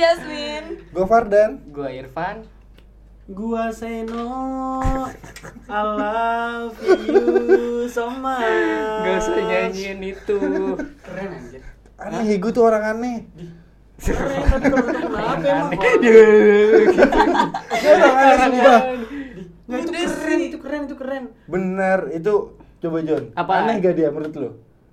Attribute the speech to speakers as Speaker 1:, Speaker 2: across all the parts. Speaker 1: Farden.
Speaker 2: Gue Fardan.
Speaker 3: Gua Irfan.
Speaker 4: Gua say no I love you so much
Speaker 3: Gak usah nyanyiin itu.
Speaker 4: Keren anjir
Speaker 2: Aneh, Higu tuh orang aneh.
Speaker 4: Keren ya, tapi kalau udah kenapa emang
Speaker 3: Aneh. Iya, Gitu.
Speaker 2: Dia orang aneh sumpah.
Speaker 4: Nggak, Nah, itu keren itu keren itu keren
Speaker 2: Bener, itu coba John.
Speaker 3: Apaan?
Speaker 2: Aneh gak dia menurut lu?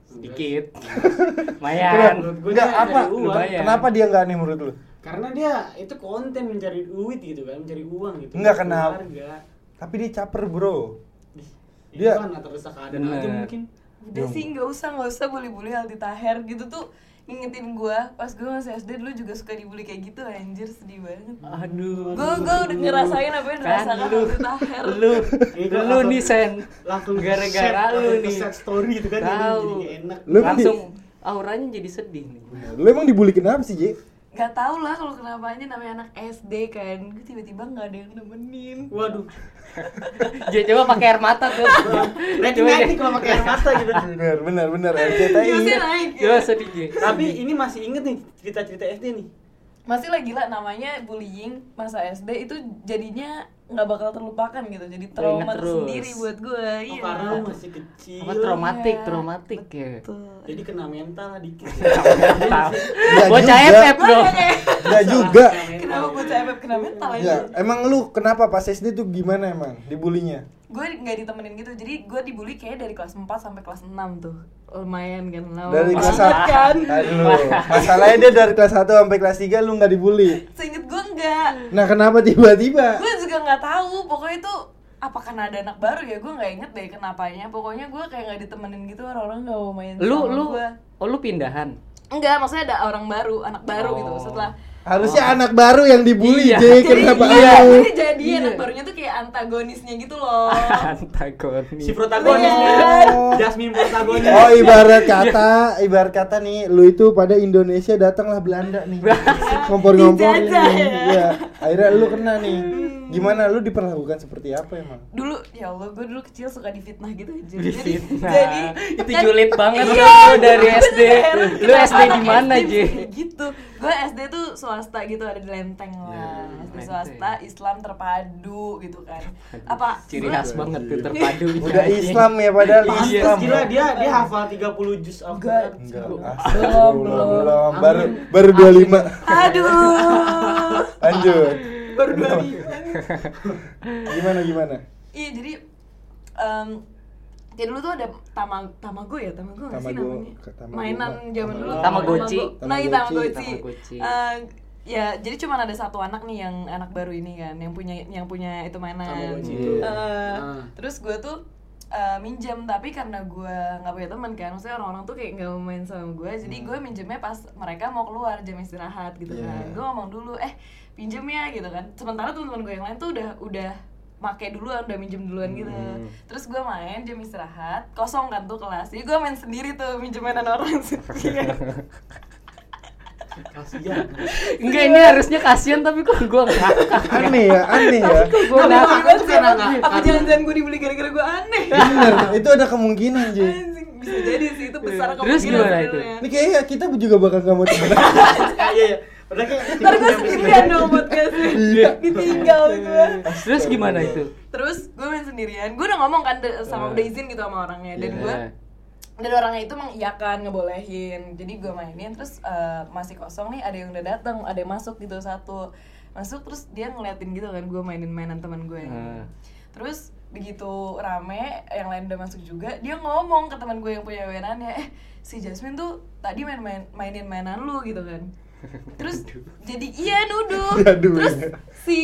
Speaker 3: Sedikit. Ya,
Speaker 2: Enggak,
Speaker 3: Lumayan.
Speaker 4: Gua
Speaker 2: enggak,
Speaker 4: nyari
Speaker 2: apa?
Speaker 4: uang.
Speaker 2: Lumayan. Kenapa dia nggak aneh menurut lu?
Speaker 4: Karena dia itu konten mencari duit gitu kan Mencari uang gitu
Speaker 2: Nggak, kenapa?
Speaker 4: Keluarga.
Speaker 2: Tapi dia caper, Bro.
Speaker 4: Dia
Speaker 2: Dia-
Speaker 4: kan atau rusak keadaan
Speaker 3: Bener.
Speaker 4: aja mungkin
Speaker 1: Udah sih nggak usah nggak usah bully-bully Aldi Taher gitu tuh ngingetin gua pas gua masih SD dulu juga suka dibully kayak gitu anjir sedih banget.
Speaker 3: Aduh.
Speaker 1: Gua gua udah ngerasain apa yang
Speaker 3: Kan
Speaker 1: dirasakan
Speaker 3: lu,
Speaker 1: Aldi Taher.
Speaker 3: lu,
Speaker 4: Ini Iya, gua
Speaker 3: lu
Speaker 4: langsung-
Speaker 3: nih sen,
Speaker 4: Langsung
Speaker 3: gara-gara
Speaker 4: share,
Speaker 3: lu
Speaker 4: langsung
Speaker 3: nih,
Speaker 4: share story gitu kan, jadi-
Speaker 3: Tahu.
Speaker 4: jadi nggak enak.
Speaker 2: Lu
Speaker 3: langsung auranya jadi sedih nih.
Speaker 2: Lu emang dibully kenapa sih, Ji?
Speaker 1: Gak tau lah kalau kenapa aja namanya anak SD kan Gue tiba-tiba gak ada yang nemenin
Speaker 4: Waduh
Speaker 3: Dia coba pakai air mata tuh.
Speaker 4: Rating
Speaker 3: Coba
Speaker 4: nanti
Speaker 3: deh.
Speaker 4: kalau pakai air mata gitu
Speaker 2: Bener, bener, bener. RCTI.
Speaker 1: Viewsnya naik
Speaker 3: Coba sedih. Ji.
Speaker 4: Tapi ini masih inget nih cerita-cerita SD nih
Speaker 1: Masih lah gila namanya bullying masa SD itu jadinya gak bakal terlupakan gitu Jadi trauma
Speaker 3: Ingat terus.
Speaker 1: tersendiri buat gue
Speaker 4: Oh,
Speaker 1: iya.
Speaker 4: karena lu masih kecil
Speaker 3: Apa traumatik,
Speaker 1: Iya.
Speaker 3: traumatik ya.
Speaker 1: Betul.
Speaker 4: Jadi kena mental lah dikit
Speaker 3: Tahu.
Speaker 2: Nggak
Speaker 3: Bocah
Speaker 4: Iya
Speaker 2: juga.
Speaker 3: FF bro.
Speaker 2: Enggak juga.
Speaker 1: Kenapa gue cebep kena mental aja
Speaker 2: Ya, emang lu kenapa pas SD tuh gimana emang dibulinya?
Speaker 1: Gue gak ditemenin gitu Jadi gue dibully kayaknya dari kelas 4 sampai kelas 6 tuh Lumayan kan lama
Speaker 2: Dari kelas
Speaker 1: banget
Speaker 2: satu-
Speaker 1: kan
Speaker 2: Aduh, masalahnya dia dari kelas 1 sampai kelas 3 lu nggak dibully.
Speaker 1: Seinget gue enggak
Speaker 2: Nah, kenapa tiba-tiba?
Speaker 1: gue juga nggak tahu pokoknya itu apa karena ada anak baru ya gue nggak inget deh kenapanya pokoknya gue kayak nggak ditemenin gitu orang-orang nggak mau main
Speaker 3: Lu
Speaker 1: sama
Speaker 3: lu
Speaker 1: gue
Speaker 3: oh lu pindahan.
Speaker 1: enggak maksudnya ada orang baru anak baru gitu
Speaker 3: Oh.
Speaker 1: setelah
Speaker 2: Harusnya anak baru yang dibully,
Speaker 3: Iya.
Speaker 2: Ji. Kenapa
Speaker 1: jadi, iya,
Speaker 2: lu?
Speaker 1: jadi, jadi anak barunya tuh kayak antagonisnya gitu loh
Speaker 3: Antagonis.
Speaker 4: Si protagonis
Speaker 1: Iya.
Speaker 4: nih Jasmine protagonis
Speaker 2: Oh, ibarat kata, ibarat kata nih, lu itu pada Indonesia datanglah Belanda nih. Ngompor-ngompor.
Speaker 1: Dijajah, ya.
Speaker 2: Iya. Akhirnya lu kena nih. Gimana lu diperlakukan seperti apa emang?
Speaker 1: dulu ya Allah gue dulu kecil suka difitnah gitu aja
Speaker 3: Difitnah.
Speaker 1: jadi
Speaker 3: Itu julid banget
Speaker 1: iya,
Speaker 3: lu dari
Speaker 1: gue
Speaker 3: SD.
Speaker 1: juga heran
Speaker 3: Lu
Speaker 1: kenapa
Speaker 3: SD di
Speaker 1: anak
Speaker 3: mana,
Speaker 1: SD
Speaker 3: Ji?
Speaker 1: bisa gitu gue SD tuh swasta gitu ada di Lenteng lah SD
Speaker 3: Iya, Lenteng.
Speaker 1: swasta Islam terpadu gitu kan apa
Speaker 3: Ciri khas banget tuh terpadu.
Speaker 2: Udah Islam ya padahal
Speaker 4: Pantes
Speaker 2: Islam.
Speaker 4: Iya, gila dia dia hafal 30 juz
Speaker 1: Enggak.
Speaker 4: Al-Qur'an.
Speaker 2: Enggak. Ah.
Speaker 1: Belum,
Speaker 2: Astagfirullah,
Speaker 1: belum.
Speaker 2: belum. Baru baru 25.
Speaker 1: aduh
Speaker 2: Lanjut.
Speaker 4: Baru dua minggu.
Speaker 2: Gimana gimana?
Speaker 1: Iya jadi em kayak dulu tuh ada tama tamago ya tamago nggak sih
Speaker 2: Tamago,
Speaker 1: namanya
Speaker 2: ke Tamago.
Speaker 1: mainan zaman dulu
Speaker 3: Tamagotchi.
Speaker 1: Tamago. nah iya
Speaker 2: Tamagotchi.
Speaker 1: tamagotchi
Speaker 3: Tamagotchi.
Speaker 1: Eh, ya jadi cuma ada satu anak nih yang anak baru ini kan yang punya yang punya itu mainan
Speaker 4: Tamagotchi
Speaker 2: itu.
Speaker 1: Eh,
Speaker 4: Ah.
Speaker 1: terus gue tuh eh, minjam tapi karena gue nggak punya teman kan maksudnya orang-orang tuh kayak nggak mau main sama gue jadi
Speaker 2: Hmm.
Speaker 1: gue minjemnya pas mereka mau keluar jam istirahat gitu
Speaker 2: Iya.
Speaker 1: kan gue ngomong dulu eh pinjem ya gitu kan sementara teman-teman gue yang lain tuh udah udah make duluan udah minjem duluan gitu terus gue main jam istirahat kosong kan tuh kelas jadi gue main sendiri tuh minjem mainan orang Iya. sendiri
Speaker 4: Kasihan.
Speaker 3: Enggak ini harusnya kasihan tapi kok gua ngakak.
Speaker 2: Aneh ya, aneh ya.
Speaker 3: Gua
Speaker 4: Nah,
Speaker 3: ngakak.
Speaker 4: Itu karena nggak-
Speaker 1: apa
Speaker 4: karena-
Speaker 1: jangan-jangan gue dibeli gara-gara gue aneh
Speaker 2: Bener, itu ada kemungkinan, Ji.
Speaker 1: Anjing, bisa jadi sih itu besar
Speaker 3: Terus
Speaker 1: kemungkinan
Speaker 3: gimana itu?
Speaker 1: sebenarnya.
Speaker 2: Iya. Ini kayaknya kita juga bakal gak mau temenan.
Speaker 4: Ah, Iya iya. Udah kayak
Speaker 1: Ntar gue sendirian dong podcastnya Ditinggal gue
Speaker 3: Terus gimana itu?
Speaker 1: Terus gue main sendirian Gue udah ngomong kan de- sama udah izin gitu sama orangnya Dan gue
Speaker 3: Iya.
Speaker 1: dan orangnya itu mengiyakan ngebolehin jadi gue mainin terus eh, masih kosong nih ada yang udah datang ada yang masuk gitu satu masuk terus dia ngeliatin gitu kan gue mainin mainan teman gue
Speaker 3: Hmm.
Speaker 1: terus begitu rame yang lain udah masuk juga dia ngomong ke teman gue yang punya mainannya eh si Jasmine tuh tadi main, main mainin mainan lu gitu kan terus jadi iya nuduh
Speaker 2: Aduh.
Speaker 1: terus si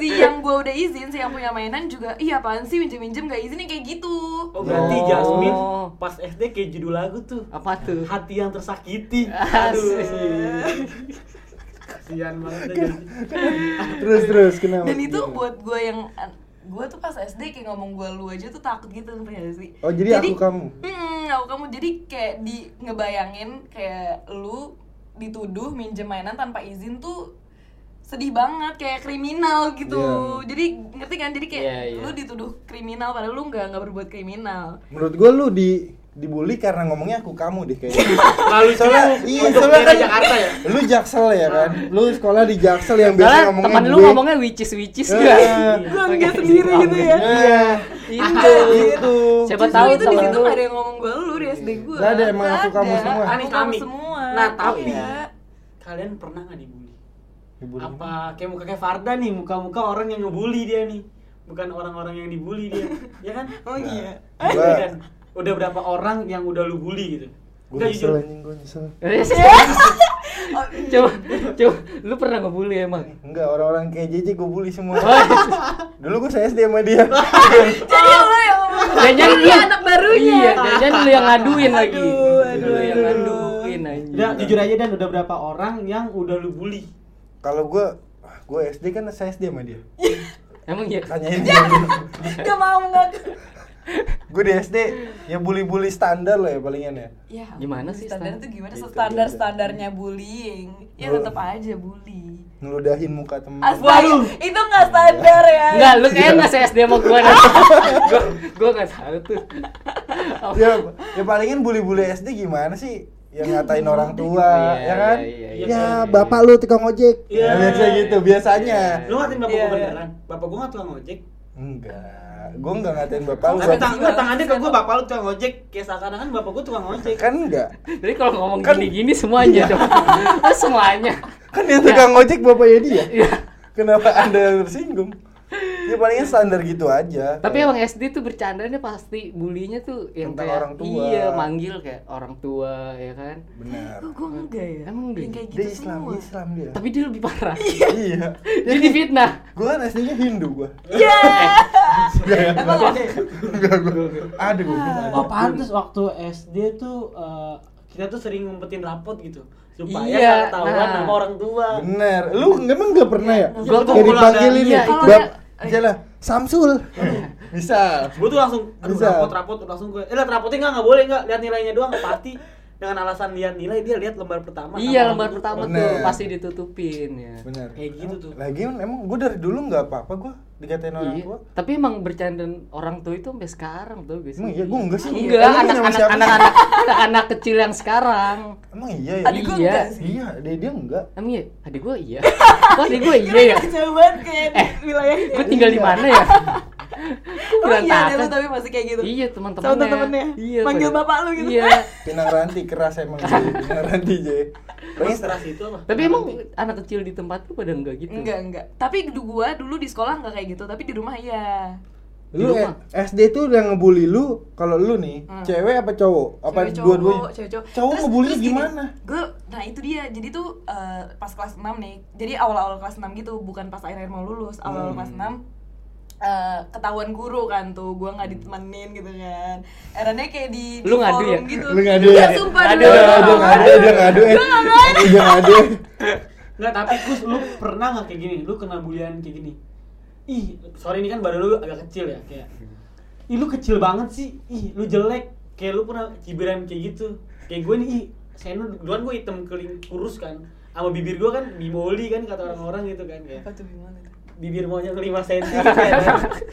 Speaker 1: si yang gue udah izin si yang punya mainan juga iya apaan sih minjem minjem gak izin kayak gitu
Speaker 4: Oh berarti
Speaker 3: Oh.
Speaker 4: Jasmine pas SD kayak judul lagu tuh.
Speaker 3: Apa tuh?
Speaker 4: Hati yang tersakiti.
Speaker 3: Asik.
Speaker 4: Aduh. Kasihan banget dah Jasmine.
Speaker 2: terus terus kenapa?
Speaker 1: dan itu buat gue yang gue tuh pas SD kayak ngomong gue lu aja tuh takut gitu ngerti gak sih
Speaker 2: Oh, jadi aku kamu?
Speaker 1: Mm, aku kamu jadi kayak di ngebayangin kayak lu dituduh minjem mainan tanpa izin tuh sedih banget kayak kriminal gitu
Speaker 2: Iya.
Speaker 1: jadi ngerti kan jadi kayak
Speaker 3: Iya, iya.
Speaker 1: lu dituduh kriminal padahal lu nggak nggak berbuat kriminal
Speaker 2: menurut gue lu di dibully karena ngomongnya aku kamu deh kayaknya.
Speaker 4: Lalu
Speaker 2: Soalnya, iya, soalnya kan
Speaker 4: Jakarta ya.
Speaker 2: Lu jaksel ya kan? Lu sekolah di jaksel yang biasa
Speaker 3: Soalnya
Speaker 2: ngomongnya
Speaker 3: temen lu
Speaker 2: gue.
Speaker 3: ngomongnya witches witches
Speaker 2: Eh,
Speaker 3: gak?
Speaker 1: Gue enggak sendiri gitu ya.
Speaker 2: Iya.
Speaker 3: Itu.
Speaker 2: Itu.
Speaker 3: Siapa
Speaker 1: Justru
Speaker 3: tahu
Speaker 1: itu di
Speaker 3: temen
Speaker 1: situ
Speaker 3: lu. Iya.
Speaker 1: nggak ada yang ngomong gue lu di SD gue.
Speaker 2: Nggak ada, emang aku kamu semua.
Speaker 1: Aku kamu
Speaker 4: Kami.
Speaker 1: semua.
Speaker 4: Nah, tapi-
Speaker 1: Iya.
Speaker 4: Kalian pernah nggak dibully?
Speaker 2: Dibully.
Speaker 4: Apa kayak muka kayak Farda nih, muka-muka orang yang ngebully dia nih. Bukan orang-orang yang dibully dia. ya kan?
Speaker 1: Oh iya.
Speaker 2: Gua-
Speaker 4: Dan udah berapa orang yang udah lu bully gitu?
Speaker 2: Gue
Speaker 4: Udah
Speaker 2: nyesel
Speaker 4: jujur.
Speaker 2: anjing, gue nyesel.
Speaker 3: coba, coba, lu pernah ngebully emang?
Speaker 2: Enggak, orang-orang kayak JJ gue bully semua.
Speaker 3: Oh,
Speaker 2: Dulu gue saya SD sama dia.
Speaker 1: Jadi ya lu yang ngomong.
Speaker 3: jangan
Speaker 1: Ini anak barunya.
Speaker 3: Iya, jangan lu yang ngaduin lagi.
Speaker 1: Aduh,
Speaker 3: Lu
Speaker 1: aduh,
Speaker 3: yang
Speaker 1: aduh.
Speaker 3: ngaduin anjing.
Speaker 4: Ya, jujur aja dan udah berapa orang yang udah lu bully?
Speaker 2: Kalau gue gue SD kan saya SD sama dia.
Speaker 3: Emang ya?
Speaker 2: Tanyain
Speaker 3: Iya.
Speaker 1: Gak mau ngaku.
Speaker 2: gue di SD ya bully-bully standar lah ya palingan ya.
Speaker 1: Ya,
Speaker 3: Gimana sih
Speaker 1: standar
Speaker 3: standar? Gitu,
Speaker 1: itu gimana?
Speaker 2: Itu
Speaker 1: Standar
Speaker 2: dia.
Speaker 1: standarnya bullying. Ya
Speaker 2: Lu-
Speaker 1: tetap aja bully.
Speaker 2: Ngeludahin muka temen.
Speaker 1: Astaga, itu nggak standar ya.
Speaker 3: Enggak, lu kayaknya
Speaker 2: Iya.
Speaker 3: nggak se-SD sama gua dah. Gua gua enggak tahu tuh.
Speaker 2: ya, ya palingan bully-bully SD gimana sih? Yang ngatain orang tua,
Speaker 3: Iya,
Speaker 2: ya kan?
Speaker 3: iya,
Speaker 4: iya,
Speaker 2: ya,
Speaker 4: iya.
Speaker 2: bapak lu tukang ojek.
Speaker 4: Iya.
Speaker 2: Ya, biasa gitu, biasanya.
Speaker 4: Lu ngatain bapak
Speaker 1: Iya,
Speaker 4: gua
Speaker 1: iya.
Speaker 4: beneran? Bapak gua nggak tukang ojek.
Speaker 2: Enggak, gue enggak ngatain bapak lu.
Speaker 4: Tapi
Speaker 2: Bapak-
Speaker 4: tang enggak, tangannya ke gua bapak lu tukang ojek. Kayak seakan-akan bapak gua tukang ojek.
Speaker 2: Kan enggak.
Speaker 3: Jadi kalau ngomong
Speaker 2: Kan-
Speaker 3: gini-gini semuanya dong. Ah, semuanya.
Speaker 2: Kan yang tukang ojek bapaknya dia.
Speaker 3: Iya.
Speaker 2: Kenapa Anda yang tersinggung? Ya palingan standar gitu aja.
Speaker 3: Tapi emang SD tuh bercandanya pasti bulinya tuh yang
Speaker 2: Tentang
Speaker 3: kayak
Speaker 2: orang tua.
Speaker 3: Iya, manggil kayak orang tua ya kan.
Speaker 2: benar.
Speaker 1: Kok gue enggak ya? Yang
Speaker 3: Emang deh.
Speaker 1: kayak gitu
Speaker 2: Dia Islam,
Speaker 1: semua.
Speaker 2: dia Islam dia.
Speaker 3: Tapi dia lebih parah.
Speaker 2: Iya.
Speaker 3: Jadi fitnah.
Speaker 2: Gua kan aslinya Hindu gua.
Speaker 1: Iya.
Speaker 2: Enggak, gua. Aduh, gua.
Speaker 4: Oh pantas waktu SD tuh eh, kita tuh sering ngumpetin rapot gitu supaya
Speaker 3: Iya,
Speaker 4: nggak ketahuan
Speaker 3: nah.
Speaker 4: sama orang tua.
Speaker 2: Bener. Lu emang gak pernah ya?
Speaker 3: Gua
Speaker 2: Kayak
Speaker 3: tuh-
Speaker 2: dipanggilin
Speaker 3: Iya,
Speaker 2: ya.
Speaker 3: itu
Speaker 2: Bab,
Speaker 1: dia.
Speaker 2: aja lah. Samsul. Bisa.
Speaker 4: Gue tuh langsung aduh
Speaker 2: Bisa.
Speaker 4: rapot rapot langsung gue. Eh lihat rapotnya nggak nggak boleh nggak lihat nilainya doang pasti dengan alasan lihat nilai dia lihat lembar pertama.
Speaker 3: Iya,
Speaker 4: sama
Speaker 3: lembar
Speaker 4: orang tua.
Speaker 3: pertama
Speaker 2: Bener.
Speaker 3: tuh pasti ditutupin ya.
Speaker 2: Bener.
Speaker 4: Kayak gitu tuh.
Speaker 2: Lagi kan emang gua dari dulu nggak apa-apa gua dikatain orang
Speaker 3: Iya.
Speaker 2: tua.
Speaker 3: Tapi emang bercandaan orang tua itu sampai sekarang tuh biasanya.
Speaker 2: Emang iya, gua enggak sih. Lu
Speaker 3: Enggak,
Speaker 2: punya sama
Speaker 3: anak-anak
Speaker 2: siapa sih?
Speaker 3: anak-anak anak kecil yang sekarang.
Speaker 2: Emang iya ya?
Speaker 1: Adik gue
Speaker 3: Iya.
Speaker 1: enggak sih.
Speaker 2: Iya, dia dia enggak.
Speaker 3: Emang iya, adik gua iya. Kok adik gua iya ya?
Speaker 1: Jauh banget kayak di wilayahnya.
Speaker 3: Gua tinggal di mana ya? Kok
Speaker 1: Iya. Oh iya deh lu
Speaker 3: berantakan?
Speaker 1: tapi masih kayak gitu.
Speaker 3: Iya, teman-temannya.
Speaker 1: Sama teman-temannya.
Speaker 3: Iya.
Speaker 1: Manggil
Speaker 3: padahal-
Speaker 1: bapak lu gitu.
Speaker 3: Iya.
Speaker 2: Pinang ranti keras emang. Jay. Pinang ranti Jay.
Speaker 4: Terus keras itu apa?
Speaker 3: Tapi emang anak kecil di tempat lu pada enggak gitu.
Speaker 1: Enggak, enggak. Tapi du- gua dulu di sekolah enggak kayak gitu, tapi di rumah iya.
Speaker 2: Lu
Speaker 3: Di rumah.
Speaker 2: eh, SD tuh udah ngebully lu kalau lu nih
Speaker 1: Hmm.
Speaker 2: cewek apa cowok? Apa
Speaker 1: Cewek
Speaker 2: dua-duanya?
Speaker 1: cowok, cewek cowok.
Speaker 2: Cowok
Speaker 1: Terus-
Speaker 2: ngebully
Speaker 1: terus gini,
Speaker 2: gimana?
Speaker 1: Gue, nah itu dia. Jadi tuh eh, pas kelas 6 nih. Jadi awal-awal kelas 6 gitu, bukan pas akhir-akhir mau lulus, awal-awal
Speaker 2: Hmm.
Speaker 1: kelas 6 eh, ketahuan guru kan tuh gue nggak ditemenin gitu kan eranya kayak di, di
Speaker 3: Lu ngadu
Speaker 1: forum
Speaker 3: ya?
Speaker 1: gitu
Speaker 2: Lu ngadu
Speaker 1: Gua
Speaker 2: ya?
Speaker 1: sumpah
Speaker 3: Ngadu,
Speaker 1: dulu
Speaker 2: Aduh,
Speaker 1: ngadu.
Speaker 2: aduh, ngadu, aduh, ngadu, eh. Aduh, ngadu.
Speaker 4: Nggak tapi Gus lu pernah nggak kayak gini? Lu kena bulian kayak gini? Ih sorry ini kan badan lu agak kecil ya kayak. Ih lu kecil banget sih. Ih lu jelek. Kayak lu pernah cibiran kayak gitu. Kayak gue nih ih saya duluan gue hitam keling kurus kan. Sama bibir gue kan bimoli kan kata orang-orang gitu kan kayak.
Speaker 1: Apa tuh, gimana tuh?
Speaker 4: Bibir maunya 5 cm gitu kan.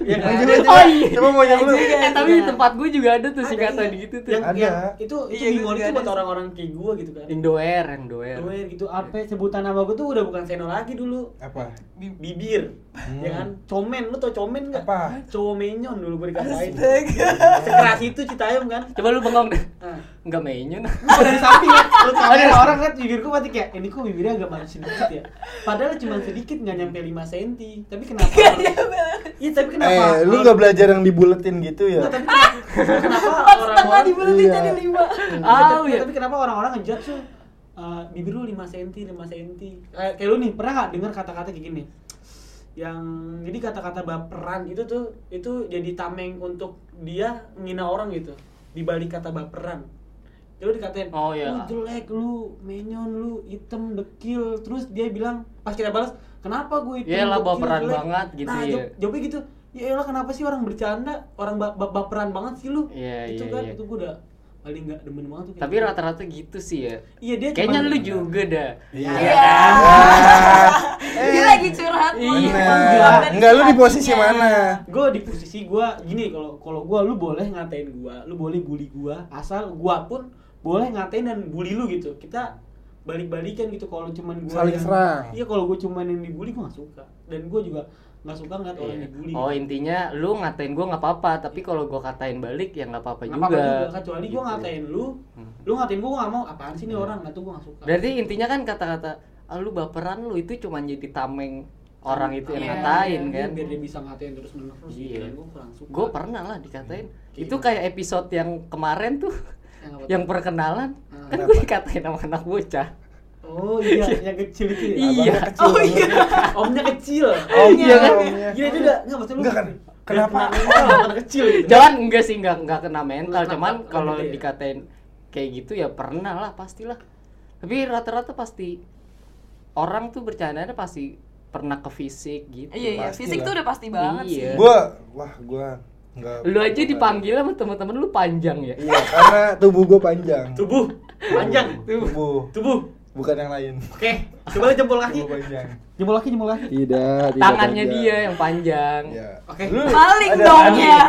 Speaker 4: Iya kan?
Speaker 2: Coba, coba.
Speaker 3: Oh iya.
Speaker 2: Coba mau yang lu.
Speaker 3: Eh, tapi di tempat gua juga ada tuh singkatan
Speaker 4: Ada, iya.
Speaker 3: gitu
Speaker 4: Yang,
Speaker 3: tuh.
Speaker 2: Ada.
Speaker 4: yang- itu itu
Speaker 1: Iya, gue
Speaker 4: bimoli
Speaker 1: juga
Speaker 4: itu
Speaker 1: ada
Speaker 4: buat
Speaker 1: sih.
Speaker 4: orang-orang kayak gue gitu kan.
Speaker 3: Indoer, Indoer.
Speaker 1: Iya.
Speaker 4: Gue gitu apa sebutan nama gue tuh udah bukan seno lagi dulu.
Speaker 2: Apa?
Speaker 4: Bi- bibir ya kan comen lu tau comen nggak
Speaker 2: Apa?
Speaker 4: cowok menyon dulu gue dikatain
Speaker 1: Astaga.
Speaker 4: sekeras itu citayam kan
Speaker 3: Coba lu bengong deh.
Speaker 4: nah,
Speaker 3: Enggak mainnya.
Speaker 4: lu dari samping ya lu kamera orang kan bibir gue pasti kayak ini kok bibirnya agak manis sedikit ya padahal cuma sedikit nggak nyampe 5 cm tapi kenapa iya tapi kenapa
Speaker 2: Eh, lu nggak belajar yang dibuletin gitu
Speaker 4: Nggak,
Speaker 2: ya?
Speaker 4: tapi kenapa, kenapa
Speaker 1: setengah
Speaker 4: orang-orang
Speaker 1: dibuletin
Speaker 2: Iya.
Speaker 1: jadi lima
Speaker 3: Ah,
Speaker 4: Tapi-
Speaker 3: iya.
Speaker 4: tapi kenapa orang-orang ngejudge tuh eh, bibir lu 5 cm, 5 cm. Kayak, kayak lu nih, pernah nggak dengar kata-kata kayak gini? Yang jadi kata-kata baperan itu tuh itu jadi tameng untuk dia ngina orang gitu. Di balik kata baperan. Jadi lu dikatain,
Speaker 3: Oh, iya.
Speaker 4: lu jelek, lu menyon, lu hitam, dekil. Terus dia bilang, pas kita balas, kenapa gue hitam,
Speaker 3: Yelah,
Speaker 4: dekil,
Speaker 3: baperan
Speaker 4: jelek?"
Speaker 3: banget gitu
Speaker 4: nah,
Speaker 3: ya.
Speaker 4: jawab- jawabnya gitu, ya elah kenapa sih orang bercanda, orang ba- ba- baperan banget sih lu.
Speaker 3: Iya,
Speaker 4: itu
Speaker 3: iya,
Speaker 4: kan,
Speaker 3: iya.
Speaker 4: itu gue udah paling nggak demen banget tuh kayak
Speaker 3: Tapi
Speaker 4: gitu.
Speaker 3: rata-rata gitu sih ya.
Speaker 4: Iya dia
Speaker 3: Kayaknya Iya.
Speaker 4: cuman-
Speaker 3: lu juga dah.
Speaker 2: Iya.
Speaker 1: Iya. Dia lagi Iya. curhat mau
Speaker 4: Iya.
Speaker 1: mau jawab dari
Speaker 2: Enggak, Nah. lu di posisi
Speaker 1: hatinya.
Speaker 2: mana?
Speaker 4: gue di posisi gue gini kalau kalau gue lu boleh ngatain gue lu boleh bully gue asal gue pun boleh ngatain dan bully lu gitu kita balik-balikan gitu kalau cuman gue
Speaker 2: Saling serang.
Speaker 4: iya kalau gue cuman yang dibully gue nggak suka dan gue juga nggak suka ngeliat orang dibully
Speaker 1: Iya.
Speaker 4: gitu.
Speaker 3: Oh intinya lu ngatain gue nggak apa-apa, tapi kalau gue katain balik ya nggak apa-apa
Speaker 4: Nggak
Speaker 3: juga.
Speaker 4: apa-apa juga kecuali gue
Speaker 3: Gitu. Iya.
Speaker 4: ngatain lu lu ngatain gue gue nggak mau apaan sih nih orang nggak tuh gue nggak suka
Speaker 3: Berarti intinya kan kata-kata ah, lu baperan lu itu cuma jadi tameng orang itu yang
Speaker 1: Iya,
Speaker 3: ngatain
Speaker 1: iya.
Speaker 3: kan.
Speaker 4: biar dia bisa ngatain terus menerus
Speaker 3: Iya.
Speaker 4: dan gue kurang suka Ya,
Speaker 3: Gue pernah lah dikatain.
Speaker 4: Iya.
Speaker 3: Itu kayak episode yang kemarin tuh
Speaker 4: Yang apa tuh?
Speaker 3: yang perkenalan
Speaker 4: Ah,
Speaker 3: kan
Speaker 2: kenapa?
Speaker 3: gue dikatain sama anak bocah.
Speaker 4: oh iya yang kecil itu ya.
Speaker 3: Iya.
Speaker 2: Abangnya
Speaker 4: oh
Speaker 2: kecil,
Speaker 4: iya omnya kecil
Speaker 2: Oh, iya kan?
Speaker 4: Omnya. gila itu udah nggak maksud lu
Speaker 2: Enggak kan?
Speaker 4: udah
Speaker 2: Kenapa?
Speaker 4: kena mental, anak kecil gitu.
Speaker 3: Jangan enggak sih enggak enggak kena mental,
Speaker 4: Kenapa?
Speaker 3: cuman
Speaker 4: Kenapa
Speaker 3: kalau
Speaker 4: gitu ya?
Speaker 3: dikatain kayak gitu ya pernah lah pastilah. Tapi rata-rata pasti orang tuh bercandanya pasti pernah ke fisik gitu.
Speaker 1: Iya iya,
Speaker 2: Pasti
Speaker 1: fisik
Speaker 2: lah.
Speaker 1: tuh udah pasti banget
Speaker 3: Iya.
Speaker 1: sih.
Speaker 2: Gua, wah gua enggak.
Speaker 3: Lu aja dipanggil sama teman-teman lu panjang ya.
Speaker 2: Iya, karena tubuh gua panjang.
Speaker 4: tubuh panjang
Speaker 2: Tubuh,
Speaker 4: tubuh
Speaker 2: bukan yang lain.
Speaker 4: oke coba lihat jempol kaki
Speaker 2: Tubuh panjang.
Speaker 4: jempol kaki jempol kaki
Speaker 2: Tidak, tidak
Speaker 3: Tangannya
Speaker 2: Iya, panjang.
Speaker 3: dia yang panjang.
Speaker 2: Iya.
Speaker 4: oke
Speaker 1: Paling
Speaker 2: Ada
Speaker 1: dong
Speaker 2: tadi.
Speaker 1: ya.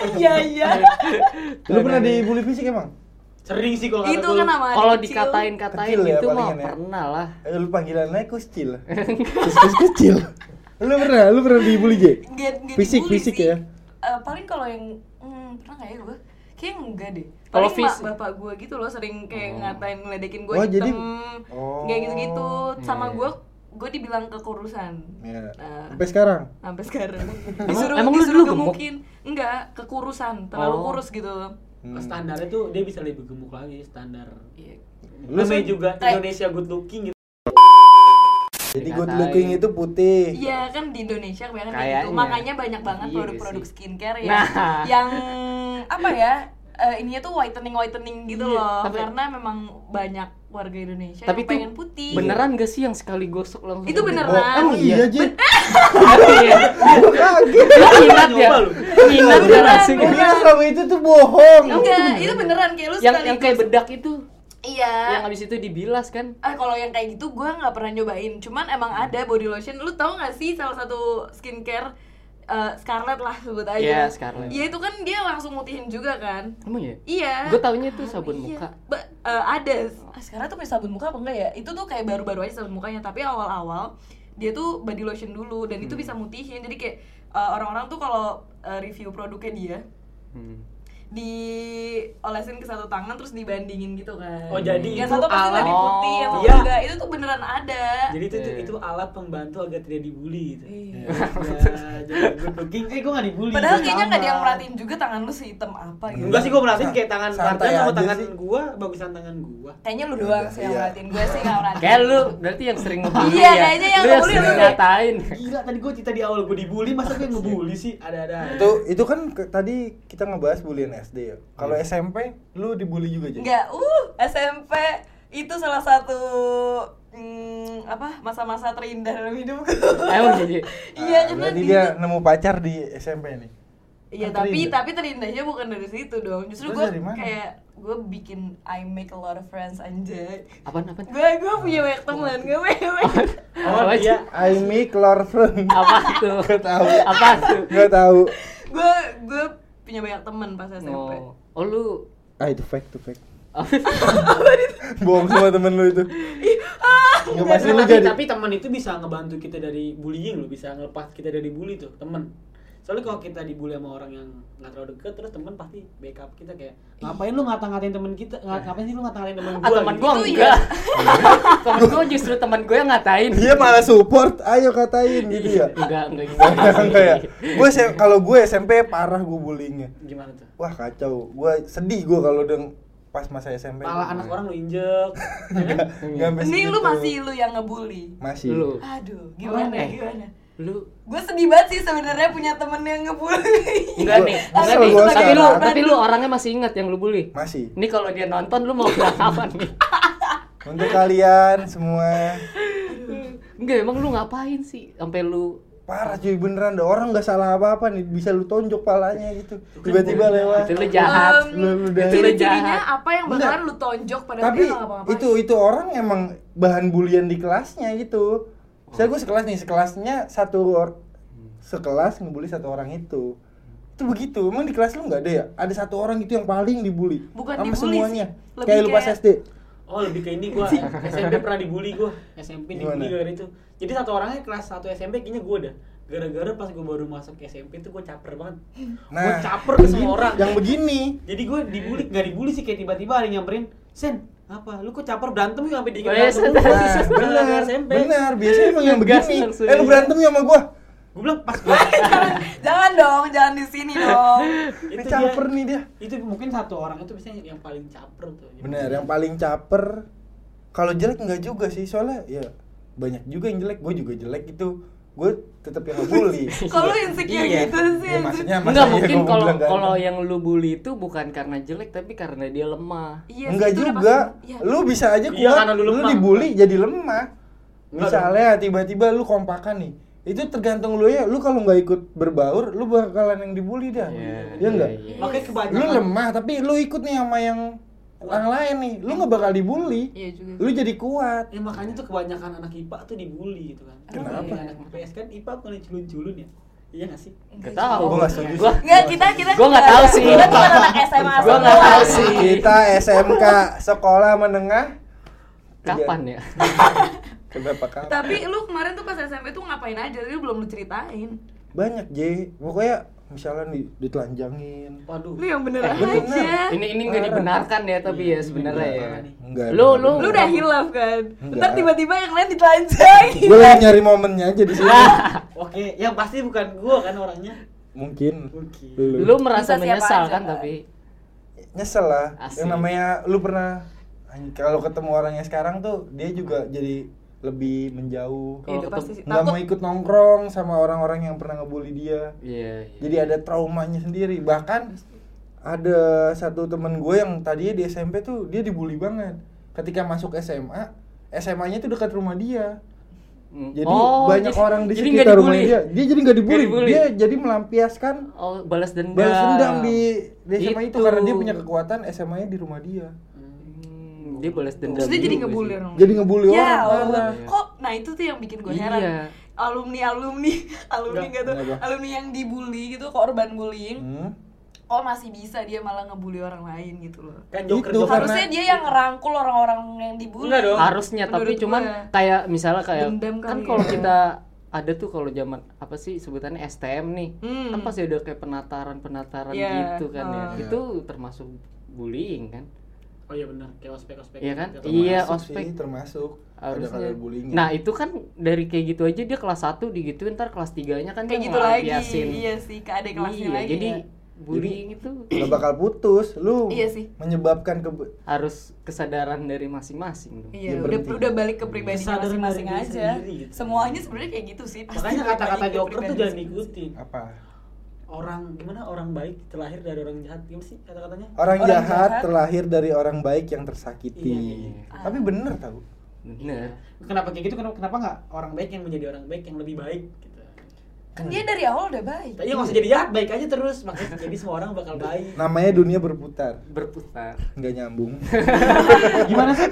Speaker 1: Iya iya.
Speaker 2: Lu pernah dibully fisik emang?
Speaker 4: sering sih kalau kata
Speaker 1: Itu
Speaker 4: gua.
Speaker 1: kan sama adik
Speaker 3: Kalau
Speaker 1: kecil.
Speaker 3: dikatain-katain
Speaker 2: Kecil ya
Speaker 3: gitu mah
Speaker 2: palingan ya.
Speaker 3: pernah lah.
Speaker 2: Eh, lu panggilannya kucil. Kus kecil. Lu pernah, lu pernah dibully, J?
Speaker 1: Nggak- nggak
Speaker 2: Fisik,
Speaker 1: dibully
Speaker 2: fisik
Speaker 1: sih.
Speaker 2: ya.
Speaker 1: Eh, paling kalau yang hmm, pernah nggak ya gue? Kayaknya enggak deh.
Speaker 3: Kalau
Speaker 1: Paling mak
Speaker 3: fisik- Oh.
Speaker 1: bapak gue gitu loh sering kayak ngatain ngeledekin gue
Speaker 2: Oh,
Speaker 1: hitam,
Speaker 2: jadi- Oh.
Speaker 1: kayak gitu-gitu. Sama
Speaker 3: Iya.
Speaker 1: gue, gue dibilang kekurusan.
Speaker 2: Iya.
Speaker 1: Nah,
Speaker 2: Sampai sekarang.
Speaker 1: sampai sekarang. disuruh
Speaker 3: emang lu
Speaker 1: disuruh
Speaker 3: dulu gemuk?
Speaker 1: gemukin. Enggak, kekurusan, terlalu
Speaker 3: Oh.
Speaker 1: kurus gitu.
Speaker 2: Hmm.
Speaker 4: standarnya tuh dia bisa lebih gemuk lagi standar
Speaker 1: Iya.
Speaker 2: Lu
Speaker 4: namanya
Speaker 2: sen-
Speaker 4: juga
Speaker 1: Kayak-
Speaker 4: Indonesia good looking gitu
Speaker 2: Jadi good looking itu putih.
Speaker 1: Iya kan di Indonesia kebanyakan kayak gitu.
Speaker 3: Kayaknya.
Speaker 1: Makanya banyak banget
Speaker 3: Iya
Speaker 1: produk-produk
Speaker 3: sih.
Speaker 1: skincare ya
Speaker 3: Nah.
Speaker 1: yang apa ya? eh, ininya tuh whitening whitening gitu loh
Speaker 3: Iya, Tapi-
Speaker 1: karena memang banyak warga Indonesia yang
Speaker 3: Tapi tuh
Speaker 1: pengen putih.
Speaker 3: Beneran gak sih yang sekali gosok langsung?
Speaker 1: Iya. Itu
Speaker 2: Oh,
Speaker 1: beneran.
Speaker 2: emang iya, J?
Speaker 3: Iya.
Speaker 2: Gua kaget.
Speaker 3: Lu ingat ya?
Speaker 4: Nyoba lu.
Speaker 3: Ingat ya
Speaker 1: Beneran,
Speaker 3: rasanya?
Speaker 2: Gua kira kamu itu tuh bohong.
Speaker 1: Enggak, Iya, itu beneran kayak lu
Speaker 3: Iya, Yang
Speaker 1: sekali
Speaker 3: yang kayak bedak itu,
Speaker 1: Iya.
Speaker 3: yang habis itu dibilas kan?
Speaker 1: Ah, kalau yang kayak gitu gue nggak pernah nyobain. Cuman emang
Speaker 3: Hmm.
Speaker 1: ada body lotion. Lu tau gak sih salah satu skincare eh, Scarlett lah sebut aja.
Speaker 3: Iya, Scarlett.
Speaker 1: Ya itu kan dia langsung mutihin juga kan.
Speaker 3: Emang ya?
Speaker 1: Iya.
Speaker 3: Gue taunya itu sabun
Speaker 1: Iya.
Speaker 3: muka.
Speaker 1: Ba- eh, ada. Ah, Sekarang tuh punya sabun muka apa enggak ya? Itu tuh kayak baru-baru aja sabun mukanya, tapi awal-awal dia tuh body lotion dulu dan
Speaker 3: Hmm.
Speaker 1: itu bisa mutihin. Jadi kayak eh, orang-orang tuh kalau eh, review produknya dia
Speaker 3: Hmm.
Speaker 1: diolesin ke satu tangan terus dibandingin gitu kan.
Speaker 4: Oh, jadi
Speaker 1: yang
Speaker 4: itu
Speaker 1: satu pasti
Speaker 4: ala-
Speaker 1: lebih putih, yang satu
Speaker 4: Iya.
Speaker 1: enggak. Itu tuh beneran ada.
Speaker 4: jadi itu itu,
Speaker 3: Iya.
Speaker 4: itu alat pembantu agar tidak dibully gitu
Speaker 1: Iya.
Speaker 4: ya jadi good looking eh gue nggak dibully
Speaker 1: Padahal
Speaker 4: gua
Speaker 1: kayaknya nggak ada yang
Speaker 4: sama.
Speaker 1: merhatiin juga tangan lu sehitam apa gitu.
Speaker 4: Enggak sih gue merhatiin kayak tangan
Speaker 2: Iya. Santai
Speaker 4: Santai sama
Speaker 2: aja
Speaker 4: tangan
Speaker 2: sih.
Speaker 4: gua, bagusan tangan gua.
Speaker 1: Kayaknya lu doang sih yang
Speaker 2: Iya.
Speaker 1: merhatiin gue sih nggak merhatiin.
Speaker 3: Kayak lu berarti yang sering ngebully
Speaker 1: Iya,
Speaker 3: ya.
Speaker 1: kayaknya yang
Speaker 3: lu yang
Speaker 1: ngebully lu
Speaker 3: sering
Speaker 1: deh.
Speaker 3: ngatain.
Speaker 4: Gila tadi gua cerita di awal gua dibully, masa gue ngebully sih? Ada-ada.
Speaker 2: Itu itu kan ke- tadi kita ngebahas bulian SD ya. Kalau SMP lu dibully juga, J?
Speaker 1: Enggak, uh SMP itu salah satu mm, apa masa-masa terindah dalam hidupku.
Speaker 3: Ah, Emang jadi.
Speaker 1: Iya
Speaker 2: Ah,
Speaker 1: karena
Speaker 2: berarti
Speaker 1: di
Speaker 2: dia
Speaker 1: situ-
Speaker 2: nemu pacar di SMP nih.
Speaker 1: Iya
Speaker 2: kan
Speaker 1: tapi
Speaker 2: terindah.
Speaker 1: tapi terindahnya bukan dari situ dong. Justru
Speaker 2: Terus
Speaker 1: gue
Speaker 2: dari mana?
Speaker 1: kayak gue bikin I make a lot of friends anjay.
Speaker 3: Apaan apaan?
Speaker 1: Gue gue punya banyak teman gue banyak.
Speaker 4: Oh,
Speaker 3: Apa
Speaker 4: dia
Speaker 3: sih?
Speaker 2: I make love from.
Speaker 3: Apa tuh?
Speaker 2: Gak tahu.
Speaker 3: Apa tuh?
Speaker 2: Gak tahu.
Speaker 1: Gue gue punya banyak teman pas SMP.
Speaker 3: Oh, oh lu
Speaker 2: Ah itu fake, itu fake.
Speaker 3: apa sih?
Speaker 2: Bohong semua temen lu itu. Enggak pasti lu
Speaker 4: tapi,
Speaker 2: jadi.
Speaker 4: tapi teman itu bisa ngebantu kita dari bullying loh, bisa ngelepas kita dari bully tuh, teman. Soalnya kalau kita dibully sama orang yang nggak terlalu deket, terus teman pasti backup kita kayak ngapain lu ngata-ngatain teman kita? Nga- Ngapain sih lu ngata-ngatain teman gua?
Speaker 3: Ah, teman
Speaker 4: gitu?
Speaker 3: gua
Speaker 1: Itu iya.
Speaker 3: enggak. temen gua justru temen gua yang ngatain.
Speaker 2: Dia malah support, ayo katain gitu ya.
Speaker 3: Enggak, enggak
Speaker 2: Enggak ya.
Speaker 3: gitu.
Speaker 2: Gue kalau gue SMP parah gue bullyingnya.
Speaker 4: Gimana tuh?
Speaker 2: Wah kacau. Gue sedih gue kalau deng pas masa SMP.
Speaker 4: Pala anak orang lu injek. ya kan?
Speaker 2: Enggak sampai
Speaker 1: Ini lu
Speaker 2: segitu.
Speaker 1: masih lu yang ngebully.
Speaker 2: masih.
Speaker 3: Lu.
Speaker 1: Aduh, gimana
Speaker 3: Eh.
Speaker 1: gimana?
Speaker 3: Lu
Speaker 1: Gue sedih banget sih sebenarnya punya temen yang ngebully.
Speaker 3: enggak
Speaker 2: Gua-
Speaker 3: nih.
Speaker 2: gua
Speaker 3: Enggak
Speaker 2: selalu
Speaker 3: nih.
Speaker 2: gua
Speaker 3: Tapi lu
Speaker 2: sekarang.
Speaker 3: tapi lu orangnya masih ingat yang lu bully.
Speaker 2: Masih.
Speaker 3: Ini kalau dia nonton lu mau bilang apa nih?
Speaker 2: Untuk kalian semua
Speaker 3: Enggak, emang lu ngapain sih sampai lu
Speaker 2: parah cuy beneran dah orang nggak salah apa-apa nih bisa lu tonjok palanya gitu tiba-tiba lewat
Speaker 3: itu lu jahat?
Speaker 1: Em,
Speaker 2: Lu- lu udah-
Speaker 1: ciri-cirinya
Speaker 3: jahat.
Speaker 1: apa yang bakalan lu tonjok pada
Speaker 2: tapi
Speaker 1: dia nggak ngapa-ngapain
Speaker 2: itu itu orang emang bahan bulian di kelasnya gitu Saya gue sekelas nih, sekelasnya satu or- sekelas ngebully satu orang itu. Itu begitu. Emang di kelas lu nggak ada ya? Ada satu orang gitu yang paling dibully.
Speaker 1: Bukan
Speaker 2: sama
Speaker 1: dibully
Speaker 2: semuanya.
Speaker 1: sih, lebih
Speaker 2: Kayak lu pas
Speaker 1: kayak-
Speaker 2: SD.
Speaker 4: Oh lebih ke ini gua SMP pernah dibully gua SMP dibully
Speaker 2: Gimana?
Speaker 4: gara itu Jadi satu orangnya kelas 1 SMP kayaknya gua dah Gara-gara pas gua baru masuk SMP tuh gua caper banget Gua caper ke semua
Speaker 2: Nah, begini-
Speaker 4: orang
Speaker 2: Yang begini.
Speaker 4: Jadi gua dibully, gak dibully sih kayak tiba-tiba ada yang nyamperin Sen, apa? Lu kok caper berantem yuk sampai dikit
Speaker 3: Oh, iya,
Speaker 4: berantem
Speaker 3: Sen.
Speaker 4: mulu."
Speaker 2: Nah,
Speaker 4: Gara-gara
Speaker 2: benar,
Speaker 4: SMP
Speaker 2: benar. Biasanya emang yang
Speaker 3: Ngegas
Speaker 2: begini.
Speaker 3: langsung
Speaker 2: Eh lu
Speaker 3: ya.
Speaker 2: berantem ya sama gua.
Speaker 4: Gua bilang pas gua
Speaker 1: jangan dong, jangan di sini dong.
Speaker 2: Ini
Speaker 4: itu
Speaker 2: caper
Speaker 4: dia,
Speaker 2: nih dia.
Speaker 4: Itu mungkin satu orang itu biasanya yang paling caper tuh
Speaker 2: Bener, yang paling caper kalau jelek nggak juga sih, soalnya ya banyak juga yang jelek, gue juga jelek gitu. Gue tetap yang ngebully.
Speaker 1: Kok lu insecure
Speaker 3: Iya.
Speaker 1: gitu sih?
Speaker 2: Ya,
Speaker 1: anjir?
Speaker 2: maksudnya
Speaker 3: Enggak
Speaker 2: masa iya
Speaker 3: mungkin
Speaker 2: gua
Speaker 3: kalau
Speaker 2: bilang ganteng?
Speaker 3: kalau ya- yang lu bully itu bukan karena jelek tapi karena dia lemah.
Speaker 1: Iya,
Speaker 2: enggak
Speaker 1: itu udah
Speaker 2: juga.
Speaker 1: pasti- iya.
Speaker 2: Lu bisa aja
Speaker 4: Iya,
Speaker 2: kuat,
Speaker 4: karena lu
Speaker 2: lu,
Speaker 4: lemah.
Speaker 2: dibully jadi lemah.
Speaker 4: Enggak
Speaker 2: Misalnya tiba-tiba lu kompakan nih. Itu tergantung lu ya. Lu kalau nggak ikut berbaur, lu bakalan yang dibully dah. Iya enggak?
Speaker 3: iya.
Speaker 4: Makanya
Speaker 2: Lu
Speaker 4: kebanyakan
Speaker 2: lemah tapi lu ikut nih sama yang orang lain nih. Lu nggak bakal dibully.
Speaker 1: Iya juga.
Speaker 2: Lu jadi kuat.
Speaker 4: Ya makanya tuh kebanyakan anak IPA tuh dibully gitu kan.
Speaker 2: Kenapa?
Speaker 4: Iya, Anak IPS kan IPA paling culun-culun ya. Iya gak sih?
Speaker 3: Gak tahu.
Speaker 2: Gua nggak setuju
Speaker 3: Gua-
Speaker 2: sih.
Speaker 1: Enggak, kita kita
Speaker 3: Gua nggak tahu sih.
Speaker 1: Kita cuma anak SMA.
Speaker 3: Gua nggak
Speaker 1: doang.
Speaker 3: tahu sih.
Speaker 2: Kita SMK sekolah menengah
Speaker 3: Kapan ya?
Speaker 2: Berapa kali?
Speaker 1: Tapi lu kemarin tuh pas SMP tuh ngapain aja? Lu belum lu ceritain.
Speaker 2: Banyak J, pokoknya misalnya di, ditelanjangin.
Speaker 4: Waduh.
Speaker 1: Lu yang bener
Speaker 2: Eh, bener.
Speaker 1: aja.
Speaker 3: Ini ini enggak dibenarkan ya tapi ya sebenarnya ya.
Speaker 4: Parah nih.
Speaker 2: Enggak.
Speaker 3: Lu- lu-
Speaker 1: Lu udah hilaf kan? Ntar
Speaker 2: Enggak.
Speaker 1: tiba-tiba yang lain ditelanjangi.
Speaker 2: Gue lagi nyari momennya aja di sini.
Speaker 4: Oke, yang pasti bukan gua kan orangnya.
Speaker 2: Mungkin.
Speaker 4: Mungkin.
Speaker 2: Lu.
Speaker 3: Lu
Speaker 1: Bisa
Speaker 3: merasa
Speaker 1: siapa
Speaker 3: menyesal
Speaker 1: aja,
Speaker 3: kan
Speaker 1: Pak.
Speaker 3: tapi
Speaker 2: nyesel lah.
Speaker 3: Asik.
Speaker 2: Yang namanya lu pernah anj- kalau ketemu orangnya sekarang tuh dia juga jadi lebih menjauh.
Speaker 1: Iya,
Speaker 3: Kalau
Speaker 1: udah pasti sih.
Speaker 2: Nggak mau
Speaker 1: Takut.
Speaker 2: ikut nongkrong sama orang-orang yang pernah ngebully dia.
Speaker 3: iya. iya.
Speaker 2: Jadi ada traumanya sendiri. Bahkan ada satu temen gue yang tadinya di SMP tuh dia dibully banget. Ketika masuk SMA, SMA-nya tuh dekat rumah dia.
Speaker 3: Hmm.
Speaker 2: Jadi
Speaker 3: Oh,
Speaker 2: banyak
Speaker 3: jadi-
Speaker 2: orang di
Speaker 3: jadi
Speaker 2: sekitar
Speaker 3: nggak
Speaker 2: rumah
Speaker 3: dibully.
Speaker 2: dia. Dia jadi nggak dibully.
Speaker 3: Nggak dibully.
Speaker 2: Dia jadi melampiaskan
Speaker 3: Oh, balas dendam.
Speaker 2: balas dendam di, di SMA itu.
Speaker 3: Itu.
Speaker 2: karena dia punya kekuatan SMA-nya di rumah dia.
Speaker 3: Hmm, dia balas dendam.
Speaker 1: Terus dia jadi
Speaker 3: juga
Speaker 1: ngebully
Speaker 3: sih.
Speaker 1: orang.
Speaker 2: Jadi ngebully orang
Speaker 1: Ya, Allah.
Speaker 2: parah.
Speaker 1: kok nah itu tuh yang bikin gue heran.
Speaker 3: Iya.
Speaker 1: Alumni alumni alumni
Speaker 4: Enggak,
Speaker 1: gitu,
Speaker 2: enggak, Bang.
Speaker 1: alumni yang dibully gitu korban bullying,
Speaker 2: Hmm.
Speaker 1: kok masih bisa dia malah ngebully orang lain gitu loh.
Speaker 4: Kan joker
Speaker 2: Itu
Speaker 4: joker.
Speaker 2: karena-
Speaker 1: Harusnya dia yang ngerangkul orang-orang yang dibully.
Speaker 4: Enggak dong.
Speaker 3: harusnya
Speaker 1: Menurut
Speaker 3: tapi cuman
Speaker 1: gua.
Speaker 3: kayak misalnya kayak
Speaker 1: Dendam
Speaker 3: kan
Speaker 1: kali
Speaker 3: kalau
Speaker 1: ya.
Speaker 3: kita ada tuh kalau zaman apa sih sebutannya STM nih
Speaker 1: Hmm.
Speaker 3: kan pasti ada kayak penataran penataran
Speaker 1: Iya,
Speaker 3: gitu kan ya
Speaker 2: hmm.
Speaker 3: itu termasuk bullying kan
Speaker 4: Oh iya benar, kayak ospek-ospek.
Speaker 3: Iya kan?
Speaker 4: gitu.
Speaker 3: Iya.
Speaker 2: Termasuk
Speaker 3: ospek.
Speaker 2: sih, termasuk ada
Speaker 3: harusnya
Speaker 2: kader bullying.
Speaker 3: nah itu kan dari kayak gitu aja dia kelas 1 digituin ntar kelas 3 nya kan
Speaker 1: Kayak
Speaker 3: dia
Speaker 1: gitu lagi.
Speaker 3: ngelampiasin.
Speaker 1: Iya sih, ke adik kelasnya
Speaker 3: Iya,
Speaker 1: lagi.
Speaker 3: jadi
Speaker 1: ya.
Speaker 3: bullying itu
Speaker 2: Gak bakal putus, lu
Speaker 1: Iya sih.
Speaker 2: menyebabkan ke
Speaker 3: harus kesadaran dari masing-masing dong.
Speaker 1: Iya,
Speaker 2: dia
Speaker 1: udah
Speaker 2: berhenti.
Speaker 1: udah balik ke pribadi
Speaker 4: Ya, Kesadaran dari
Speaker 1: masing-masing
Speaker 4: diri
Speaker 1: aja.
Speaker 4: sendiri gitu.
Speaker 1: Semuanya sebenarnya kayak gitu sih. pasti
Speaker 4: Makanya
Speaker 1: balik
Speaker 4: kata-kata
Speaker 1: ke
Speaker 4: joker tuh
Speaker 1: pribadi
Speaker 4: jangan
Speaker 1: masing-masing.
Speaker 4: diikutin.
Speaker 2: apa?
Speaker 4: Orang gimana orang baik terlahir dari orang jahat. Gimana sih kata-katanya?
Speaker 2: Orang,
Speaker 1: Orang
Speaker 2: jahat,
Speaker 1: jahat.
Speaker 2: terlahir dari orang baik yang tersakiti.
Speaker 4: Iya,
Speaker 3: iya.
Speaker 2: Tapi Ah. bener tau.
Speaker 1: Iya.
Speaker 3: Bener.
Speaker 4: Kenapa kayak gitu? Kenapa kenapa enggak orang baik yang menjadi orang baik yang lebih baik gitu.
Speaker 1: Kan dia dari awal udah baik.
Speaker 4: Tapi ya nggak usah jadi jahat, baik aja terus. Makanya jadi semua orang bakal baik.
Speaker 2: Namanya dunia berputar,
Speaker 3: Berputar.
Speaker 2: nggak nyambung.
Speaker 4: gimana sih?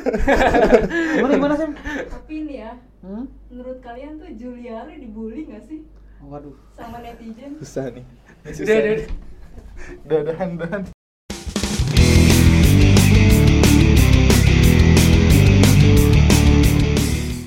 Speaker 4: Gimana gimana sih?
Speaker 5: Tapi ini ya, menurut kalian tuh Juliari dibully nggak sih
Speaker 4: Waduh.
Speaker 5: sama netizen?
Speaker 2: Susah nih.
Speaker 3: Udah, udah, udah.
Speaker 2: Dadah, dahan